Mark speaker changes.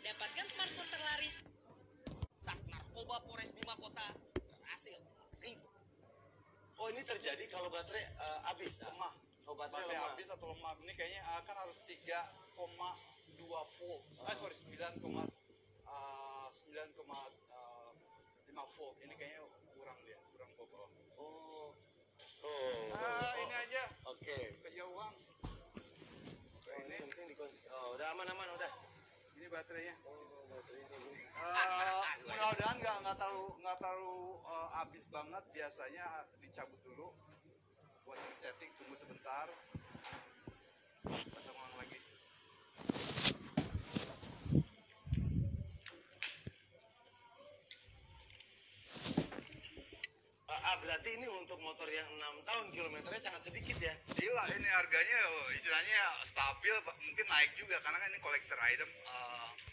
Speaker 1: mendapatkan smartphone terlaris saat narkoba Polres Bima Kota berhasil ringkus.
Speaker 2: Oh ini terjadi kalau baterai eh, habis,
Speaker 3: lemah
Speaker 2: Oh, baterai
Speaker 3: baterai
Speaker 2: lemah.
Speaker 3: habis atau lemah ini kayaknya ah, kan harus 3,2 volt eh sorry 9, ah, 9,5 volt ini kayaknya kurang dia kurang ke bawah
Speaker 2: Oh. Oh.
Speaker 3: ah ini aja
Speaker 2: Oke.
Speaker 3: kejauhan Oke,
Speaker 2: Oh, ini
Speaker 3: ini
Speaker 2: penting dikon- Oh, udah aman-aman udah.
Speaker 3: ini baterainya
Speaker 2: Oh, baterainya ini.
Speaker 3: Eh, mudah-mudahan nggak nggak terlalu nggak terlalu eh, habis banget biasanya dicabut dulu buat setting tunggu sebentar pasang ulang lagi
Speaker 2: Ah, ah, berarti ini untuk motor yang 6 tahun kilometernya sangat sedikit ya.
Speaker 3: Gila ini harganya oh, istilahnya stabil Pak. mungkin naik juga karena kan ini kolektor item eh,